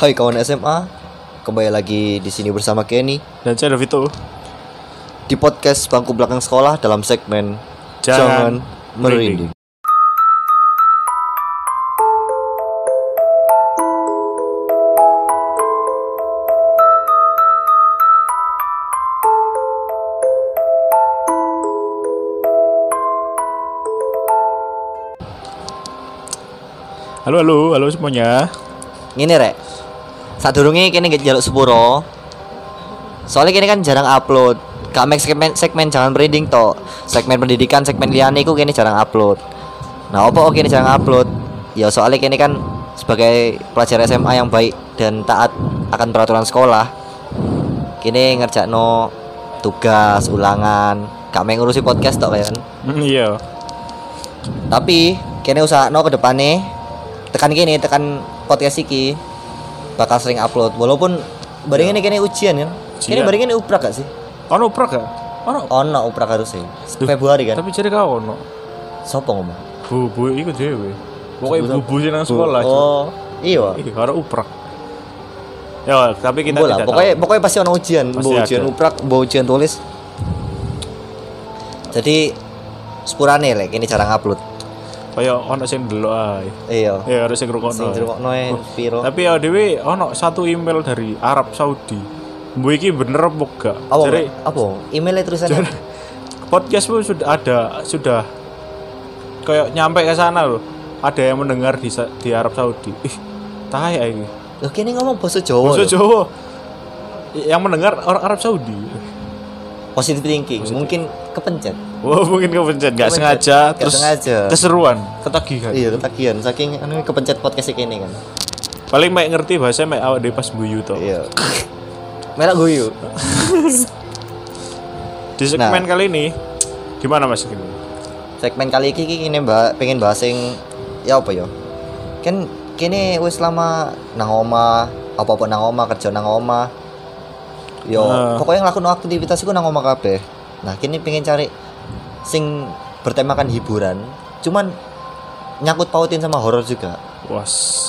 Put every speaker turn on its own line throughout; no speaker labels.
Hai kawan SMA, kembali lagi di sini bersama Kenny
Dan saya Davito.
di podcast bangku belakang sekolah dalam segmen
Jangan
merinding.
Halo halo, halo semuanya.
Ini rek, saat durungnya kini gak jaluk sepuro. Soalnya kini kan jarang upload. Gak make segmen segmen jangan merinding to. Segmen pendidikan, segmen liane iku kini jarang upload. Nah opo kini jarang upload. Ya soalnya kini kan sebagai pelajar SMA yang baik dan taat akan peraturan sekolah. Kini ngerjakno tugas ulangan. Gak main ngurusi podcast tok kan.
Hmm, iya.
tapi kene usahakno ke depannya tekan gini tekan podcast iki bakal sering upload walaupun bareng
Iya.
ini kene ujian kan kene
Ujian.
bareng ini uprak gak sih
Ono prak gak? Ono.
ono uprak harus sih Februari kan
Iya. Tapi jadi kau ono.
sopo ngomong
Bu bu iku dhewe. Pokoke bubu sing nang sekolah. Cuk.
oh iya
Ih, karo uprak. Ya, tapi kita
Bola,
tidak
pokoknya pokoknya pasti ono ujian,
Pasti
mbok ujian
ada.
uprak, mbok ujian tulis. Jadi sepurane lek ini jarang upload.
tahu. Kaya ono sing delok ae.
Iya.
Ya, harus sing ngrungokno.
Sing
ae.
dirungokno e piro?
Tapi ya dhewe ono satu email dari Arab Saudi. Bu iki bener apa gak?
Apa?
Jadi
Apa? Emailnya tulisannya
podcastmu sudah ada sudah kayak nyampe ke sana loh ada yang mendengar di, Sa- di Arab Saudi ih tai ah ini
Loh, kene ngomong bahasa Jawa.
maksud
lho.
Jawa yang mendengar orang Arab Saudi
positive thinking mungkin kepencet
wah Oh, mungkin kepencet nggak
Kepencet.
sengaja
Nggak
terus
sengaja.
keseruan ketagihan
iya ketagihan saking anu kepencet podcast iki ini kan
paling mek ngerti bahasa mek awak dhewe pas buyu to
iya merah guyu
di segmen kali ini gimana mas ini
segmen kali iki iki ini mbak pengen bahas sing ya apa ya kan kini wis lama nang oma apa apa nang oma kerja nang oma yo
Ah.
pokoknya ngelakuin aktivitas iku nang oma kabeh nah kini pengen cari sing bertemakan hiburan cuman nyangkut pautin sama horor juga
wah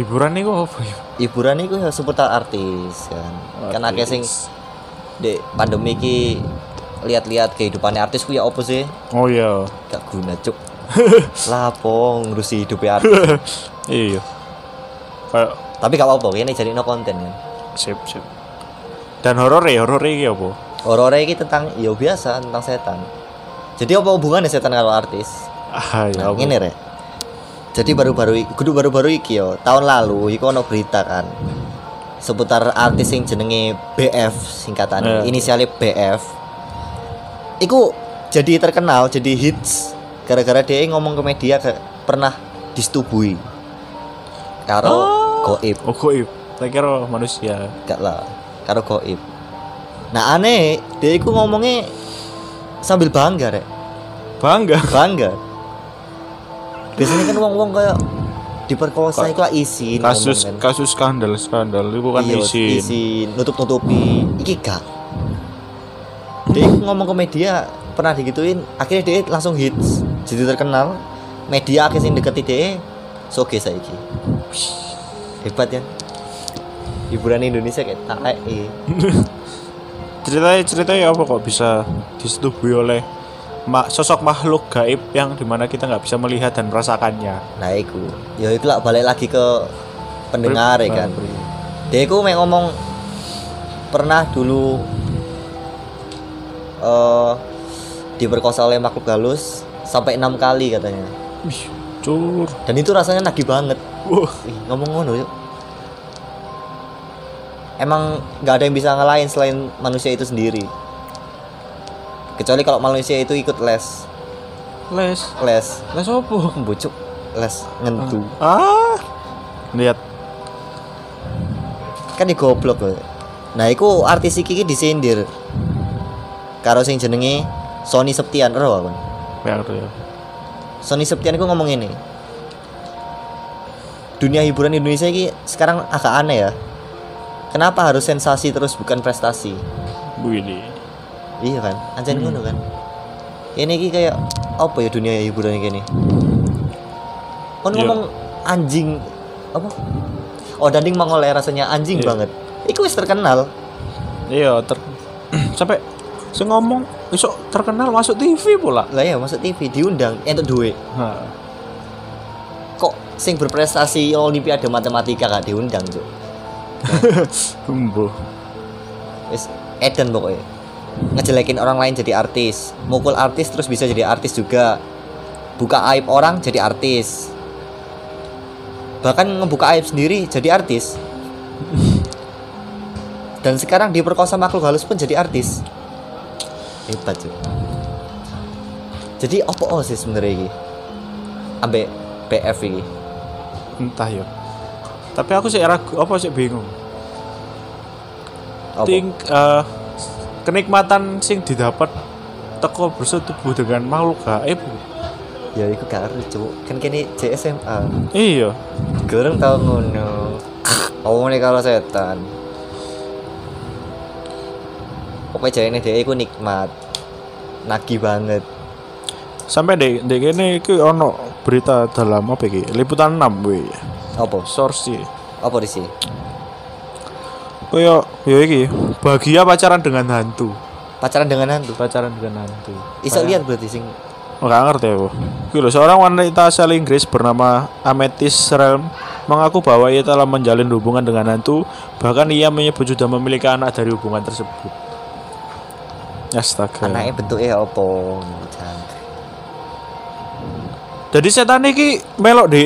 hiburan nih kok apa ya
hiburan itu ya seputar artis kan kan akeh sing
Artis.
di pandemi ki lihat-lihat kehidupannya artis ku ya opo sih
oh iya
gak guna cuk lapo ngurusi hidupnya artis
iya kayak
tapi gak apa-apa ini jadi no konten kan
sip sip dan horor ya horor iki apa
horornya ini tentang ya biasa tentang setan jadi apa hubungannya setan karo artis
ah ya
nah,
apa
ini re jadi baru-baru i- kudu baru-baru iki yo tahun lalu iku ono berita kan seputar artis yang jenenge BF singkatannya
Eh.
inisialnya BF iku jadi terkenal jadi hits gara-gara dia ngomong ke media ke- pernah disetubuhi karo goib
Oh goib, tak kira manusia.
gak lah karo goib nah aneh dia iku ngomongnya sambil bangga rek
Bangga.
bangga biasanya kan wong-wong kayak diperkosa itu lah izin ngomong
Kasus
kan.
kasus skandal skandal itu kan
Iya,
izin.
izin nutup-nutupi iki gak dia ngomong ke media pernah digituin akhirnya dia langsung hits jadi terkenal media akhirnya sing deketi dia soge saiki hebat ya hiburan Indonesia kayak iya. tae
Ceritanya ceritanya apa kok bisa disetujui oleh ma- sosok makhluk gaib yang dimana kita nggak bisa melihat dan merasakannya.
nah iku ya iku lah balik lagi ke pendengar ya kan
Pri-
dia itu main ngomong pernah dulu eh diperkosa oleh makhluk halus sampai enam kali katanya
Wih, cur. Uh,
dan itu rasanya nagih banget
Wah,
Ih, ngomong ngono yuk emang nggak ada yang bisa ngalahin selain manusia itu sendiri kecuali kalau manusia itu ikut les
les.
les
Les apa?
bucuk les ngentu
Ah. Lihat.
kan di goblok loh. Nah, iku artis iki ki disindir. Karo sing jenenge Sony Septian ero aku.
Ya, itu ya.
Sony Septian iku ngomong ini. Dunia hiburan Indonesia iki sekarang agak aneh ya. Kenapa harus sensasi terus bukan prestasi?
Wih, ini.
Iya kan? Anjir
Hmm.
ngono kan. Ini iki kayak apa ya dunia hiburan ini? Kon
Iya.
ngomong anjing apa? oh danding mengoleh rasanya anjing
Iya.
banget itu wis terkenal
Iya, ter sampai saya ngomong besok terkenal masuk TV pula.
lah ya maksud TV diundang entuk duit
Nah,
kok sing berprestasi olimpiade matematika gak diundang cuk
embuh.
wis Eden pokoknya ngejelekin orang lain jadi artis mukul artis terus bisa jadi artis juga buka aib orang jadi artis bahkan ngebuka aib sendiri jadi artis dan sekarang diperkosa makhluk halus pun jadi artis hebat cuy jadi opo sih sebenarnya ini ambek PF ini
entah ya. Tapi aku sih ragu apa sih bingung.
Apa?
Ting eh, kenikmatan sing didapat teko bersetubuh dengan makhluk gaib.
ya itu gak harus cuy kan kini JSMA
Iya.
Gereng tau ngono. Kamu nih kalau setan. Pokoknya jane dia iku nikmat. Nagih banget.
Sampai dek dek ini iki ono berita dalam apa iki? Liputan 6 we.
Apa?
Source iki.
Apa di sini?
Koyo yo iki, bahagia pacaran dengan hantu.
Pacaran dengan hantu.
Pacaran dengan hantu.
Iso lihat berarti sing
Nggak ngerti aku. Oke, loh, seorang wanita asal Inggris bernama Amethyst Realm mengaku bahwa ia telah menjalin hubungan dengan hantu, bahkan ia menyebut sudah memiliki anak dari hubungan tersebut. Astaga.
anaknya bentuknya apa? Jangan.
Jadi setan iki melok de,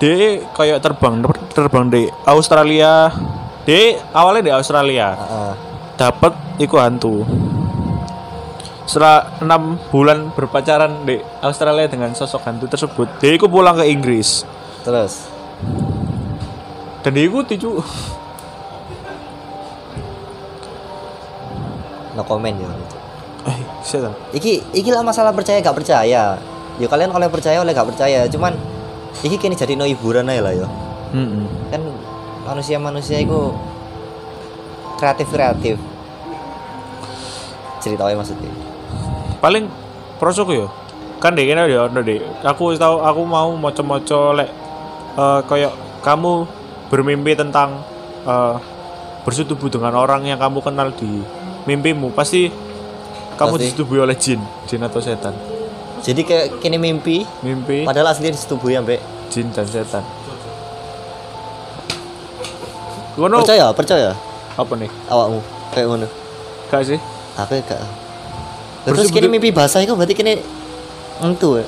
de E kayak terbang terbang di Australia. De awalnya di Australia
Heeh.
dapat iku hantu. Setelah enam bulan berpacaran di Australia dengan sosok hantu tersebut, dia iku pulang ke Inggris.
Terus
dan diikuti cu
no comment ya.
eh setan
Iki iki lah masalah percaya gak percaya. Ya kalian oleh percaya oleh gak percaya. Cuman iki kini jadi no hiburan aja lah ya. kan manusia-manusia itu kreatif kreatif ceritanya maksudnya
paling prosok ya kan deh kena ya ono deh aku tahu aku mau moco-moco lek eh, kayak kamu bermimpi tentang eh, bersetubuh dengan orang yang kamu kenal di mimpimu pasti kamu
Pasti.
disetubuhi oleh jin jin atau setan
jadi kayak kini mimpi
mimpi
padahal aslinya disetubuhi ya, ambek
jin dan setan Ngono
percaya percaya
apa nih
awakmu kayak ngono
gak sih
aku gak Lah, terus
Berarti-
kini mimpi basah itu berarti kini entu ya?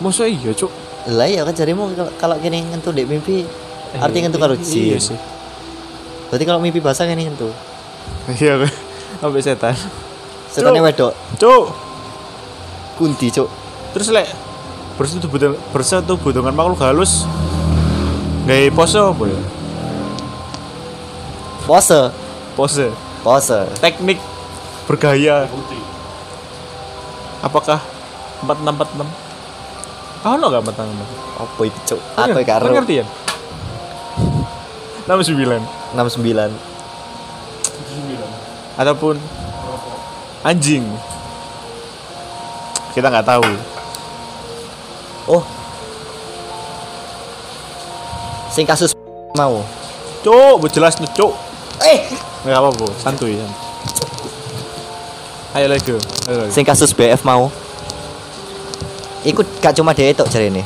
Masa iya cuk
lah ya kan jarimu kalau- kalau kini entu dek mimpi artinya entu karo
Iya
jin
sih
berarti kalau mimpi basah kini entu
Iya Sampai setan
setannya wedok
Cuk
kunti cuk
Terus lek bersetubuh dengan, bersetubuh dengan makhluk halus Gaya pose apa ya?
pose
Pose
pose
Teknik bergaya Apakah 4646? Ah, no gak 4646?
apa itu cuk aku gak
Kau
karo
Iya, ngerti ya? 69
69
Ataupun Anjing Kita nggak tahu
Oh. Sing kasus mau.
Cuk, bu jelas nih cuk
Eh,
Gak apa-apa, santuy santuy. Ayo lagi Ayo lagi
sing kasus BF mau. Ikut gak cuma dia itu cari ini,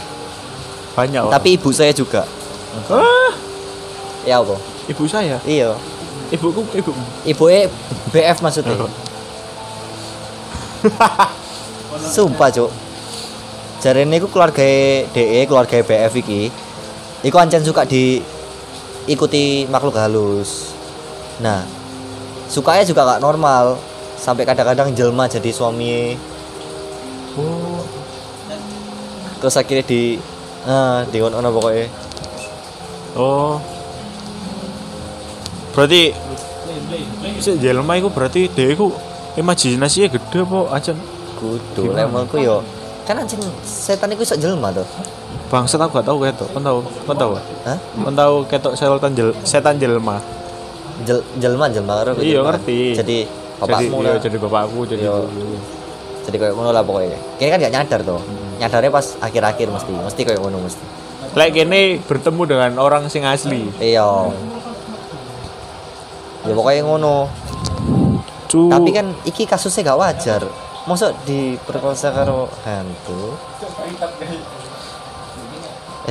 Banyak orang.
tapi ibu saya juga.
Ah,
Ya apa?
Ibu saya
Iya.
Ibuku, ibu
Ibu BF maksudnya. Sumpah cuk. Jare ini ku keluarga DE, keluarga BF iki. Iku ancen suka diikuti makhluk halus. Nah, sukanya juga gak normal. Sampai kadang-kadang jelma jadi suami.
Oh.
Terus akhirnya di ah, di ono pokoknya.
Oh Berarti Si jelma itu berarti dia itu Imajinasinya gede e apa aja
Kudu
Gimana?
levelku yo. Kan ancen setan iku sok jelma tuh.
Bangsat aku gak tau ketok Kan tau Kan tau
Hah?
Kan tau ketok setan, jel, setan jelma
Jel, jelma jelma karo
Iya
jelma.
ngerti
Jadi
jadi,
bapakmu
iya,
lah.
jadi bapakku jadi
Iya.
ibuku. Hmm.
jadi kayak ngono lah pokoknya kini kan gak nyadar tuh nyadarnya pas akhir-akhir mesti mesti kayak ngono mesti
lek kene bertemu dengan orang sing asli
iya ya pokoknya ngono
Cu-
tapi kan iki kasusnya gak wajar masa diperkosa karo hantu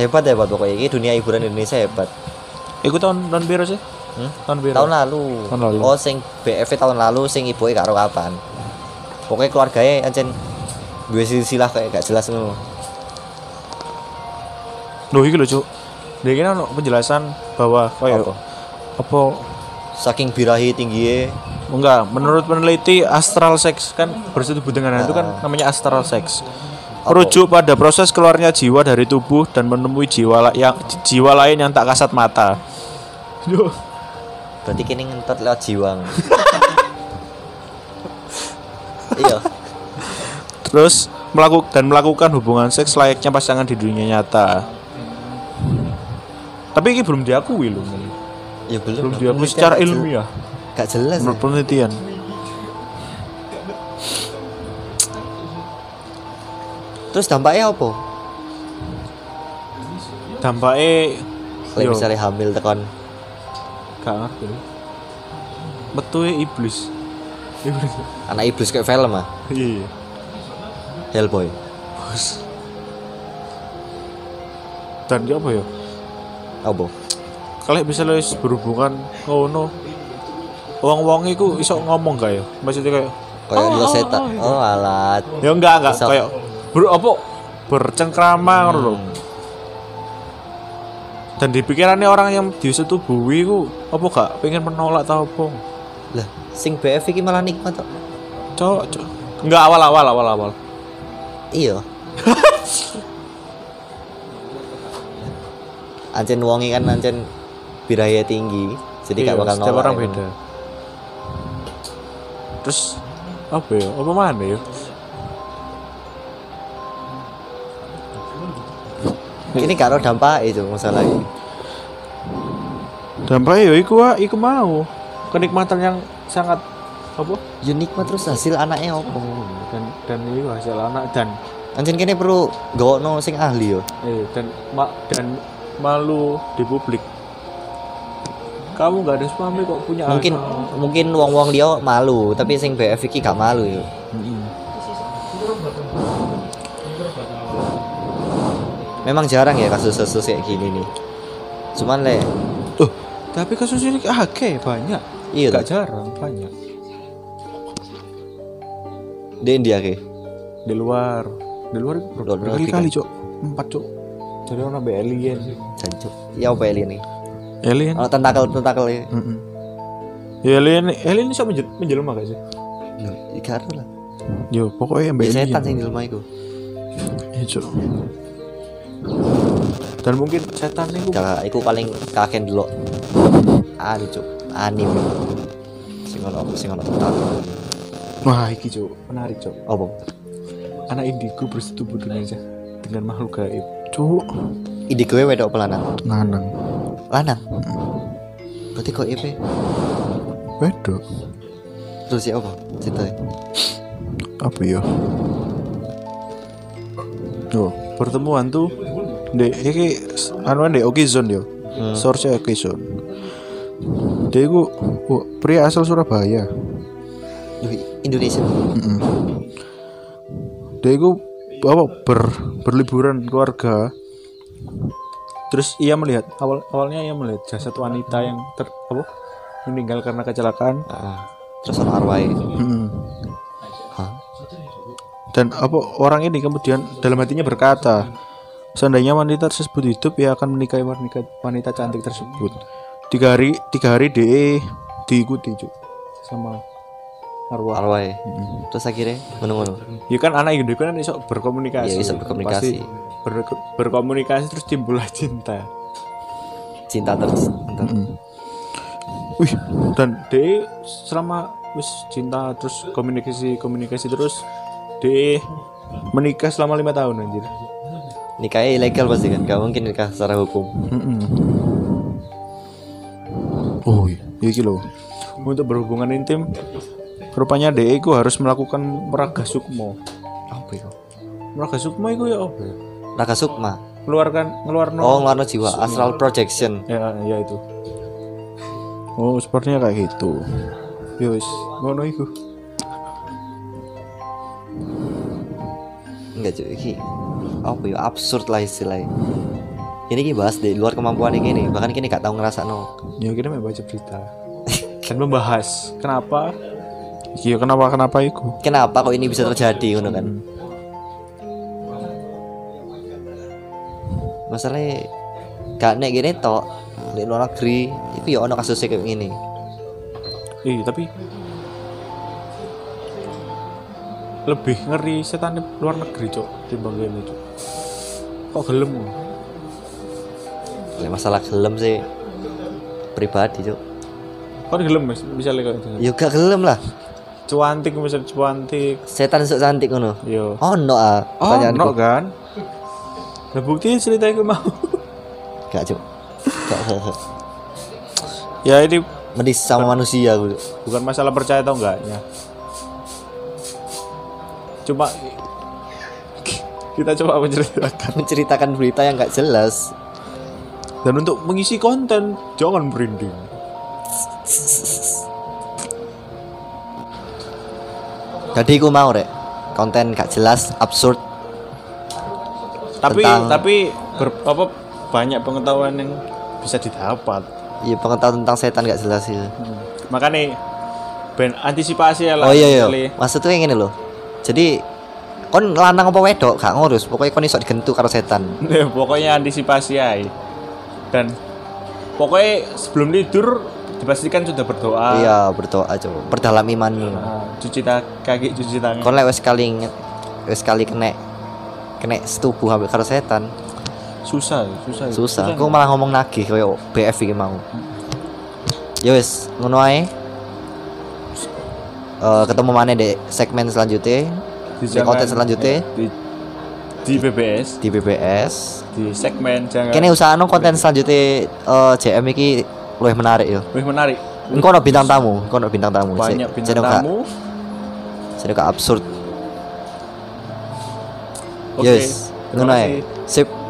hebat hebat pokoknya ini dunia hiburan Indonesia hebat
iku tahun tahun biru sih
Hmm?
tahun biru
tahun lalu.
Tahun lalu.
oh sing BFV tahun lalu sing ibuke karo kapan pokoknya keluarganya ancen dua silsilah kayak gak jelas ngono
Loh iki lho, Cuk. Dia kene ono penjelasan bahwa kayak
Apa?
apa?
saking birahi tingginya
Enggak, menurut peneliti astral sex kan bersetubuh dengan hantu kan namanya astral sex. Merujuk pada proses keluarnya jiwa dari tubuh dan menemui jiwa la- yang ji- jiwa lain yang tak kasat mata. Yo,
berarti kini ngentot lewat jiwang iya
Terus melakukan dan melakukan hubungan seks layaknya pasangan di dunia nyata. Tapi ini belum diakui loh.
ya belum
Belum
lah.
diakui
Penelitian
kan, secara
gak jel-
ilmiah
gak jelas
menurut penelitian.
terus dampaknya apa
Dampaknya
Lek
yo,
misalnya hamil tekan
gak ngerti. Metuhe e iblis. Iblis.
anak iblis kayak film ah
Iya.
Hellboy
Bos. Dan dia apa ya?
apa
Kalau bisa wis berhubungan ngono. Wong-wong iku iso ngomong gak ya? Maksudnya kayak
kayak oh, setan oh alat
ya enggak enggak
Iso.
kayak ber apa bercengkrama
Hmm.
ngono lho. Dan di pikirannya orang yang disetubuhi iku apa gak pengen menolak tau apa?
lah sing BF iki malah nikmat kok
Cok, cok. Enggak awal-awal awal-awal.
iya ancen wongi kan ancen biraya tinggi jadi gak
Iya,
bakal
setiap
nolak
orang
ya.
beda terus apa ya apa mana ya
ini karo dampak itu masalah ini
dampaknya ya iku wa- iku mau kenikmatan yang sangat apa
ya nikmat terus hasil anaknya apa
dan dan itu hasil anak dan
ancen kene perlu gawokno sing ahli yo
eh, dan ma- dan malu di publik kamu nggak ada suami kok punya
mungkin
anak.
mungkin wong-wong liya malu tapi sing BF iki gak malu yo
Mm-mm.
memang jarang ya kasus-kasus kayak gini nih cuman le
Tuh, tapi kasus ini akeh banyak
Iya,
nggak
tuh.
jarang banyak
di India ke
di luar di luar itu
Luar negeri kan?
berkali kali cok empat cok jadi orang be alien
jancuk ya apa ini nih
alien
kalau tentakel tentakel ya
Ya alien alien bisa menjel menjelma gak sih?
Loh, ya gak ada lah
Yo pokoknya
ya
yang baik
setan sing di rumah iku
Ya, Dan mungkin setan itu
Gak, iku paling kaken dulu. Anu cuk, anime. Sing ono sing ono tentang
wah iki cok menarik cok.
apa?
Anak indigo bersetubuh dengan aja dengan makhluk gaib. Cok
Ide gue wedok apa lanang? Hmm.
nanang
Lanang. Berarti kok IP
wedok
terus ya apa? Cerita.
apa ya? Yo pertemuan tuh de iki anu de oke zone yo. Source oke zone. Dia itu oh, pria asal Surabaya.
Duh, Indonesia.
dia itu apa ber, berliburan keluarga terus ia melihat awal awalnya ia melihat jasad wanita yang ter apa meninggal karena kecelakaan
Heeh. terus ono arwah. Ah. Hah?
Hmm. dan apa orang ini kemudian dalam hatinya berkata seandainya wanita tersebut hidup ia akan menikahi wanita wanita cantik tersebut tiga hari tiga hari de diikuti Cuk, sama arwah
Arwah. Terus akhirnya menunggu.
ya kan anak Hindu kan iso berkomunikasi
Iya, iso berkomunikasi.
Pasti ber- berkomunikasi terus timbullah cinta
Cinta terus.
Wih, dan de selama wis cinta terus komunikasi komunikasi terus de menikah selama lima tahun anjir.
Nikahnya ilegal pasti kan? Gak mungkin nikah secara hukum.
Oh, iya kilo. Untuk berhubungan intim, rupanya de iku harus melakukan meraga sukmo.
Apa iku?
Meraga sukmo iku ya apa? ya?
Naga Sukma.
Ngeluarkan ngeluarno.
Oh, ngeluarno jiwa, astral projection.
Ya, ya itu. Oh, sportnya kayak gitu. Yus, ngono iku.
Enggak cuy, iki apa ya absurd lah istilahnya. Ini ki bahas di luar kemampuan ini nih, bahkan kini gak tahu ngerasa no.
Ya kita mau baca berita dan membahas kenapa. Iya kenapa kenapa iku?
Kenapa kok ini bisa terjadi ngono kan? Masalahnya gak nek gini tok di luar negeri itu ya ono kasusnya kayak gini.
Ih Iya, tapi lebih ngeri setan di luar negeri cok timbang ini cok. Kok gelem?
Lah, masalah gelem sih pribadi cuk.
Kok Kan gelem mas? Misalnya kayak gini.
Ya gak gelem lah.
Cuantik misal cuantik.
Setan sok cantik ngono.
Yo.
Oh no ah,
Oh, no
pertanyaanku.
kan? Nah, bukti cerita iku mau.
Gak cuk. Gak.
ya ini
Medis sama manusia gue.
bukan masalah percaya atau enggaknya. Cuma kita coba menceritakan.
Menceritakan berita yang gak jelas.
Dan untuk mengisi konten, jangan merinding.
Jadi gue mau rek konten gak jelas, absurd.
Tapi
Tentang-
tapi ber- apa banyak pengetahuan yang bisa didapat.
Ya pengetahuan tentang setan gak jelas iya. itu.
Hmm. Makanya ben antisipasi ya lah.
Oh iya
kali.
iya. Maksudnya yang ini loh. Jadi kon lanang apa wedok gak ngurus, pokoknya kon iso digentu karo setan.
Ya, pokoknya antisipasi aja. Dan pokoknya sebelum tidur dipastikan sudah berdoa.
Iya, berdoa coba. Perdalam imanmu.
Nah, cuci ta- kaki, cuci tangan.
Kon lek wis kali nge- wis kali kena kena setubuh hampir karo setan.
susah, susah.
Susah. Aku malah ngomong nagih kayak BF iki mau. Ya wis, ngono ae. Eh, ketemu mana di segmen selanjutnya di konten
jangan-
selanjutnya
di, di BBS,
di BBS
di segmen jangan.
kene usahano konten selanjutnya eh, JM iki luwih menarik yo
Wih, menarik.
engko ono bintang tamu engko ono bintang tamu
Banyak bintang tamu.
jadi gak absurd
Oke.
yes
terima
ngono ae
kasih.
sip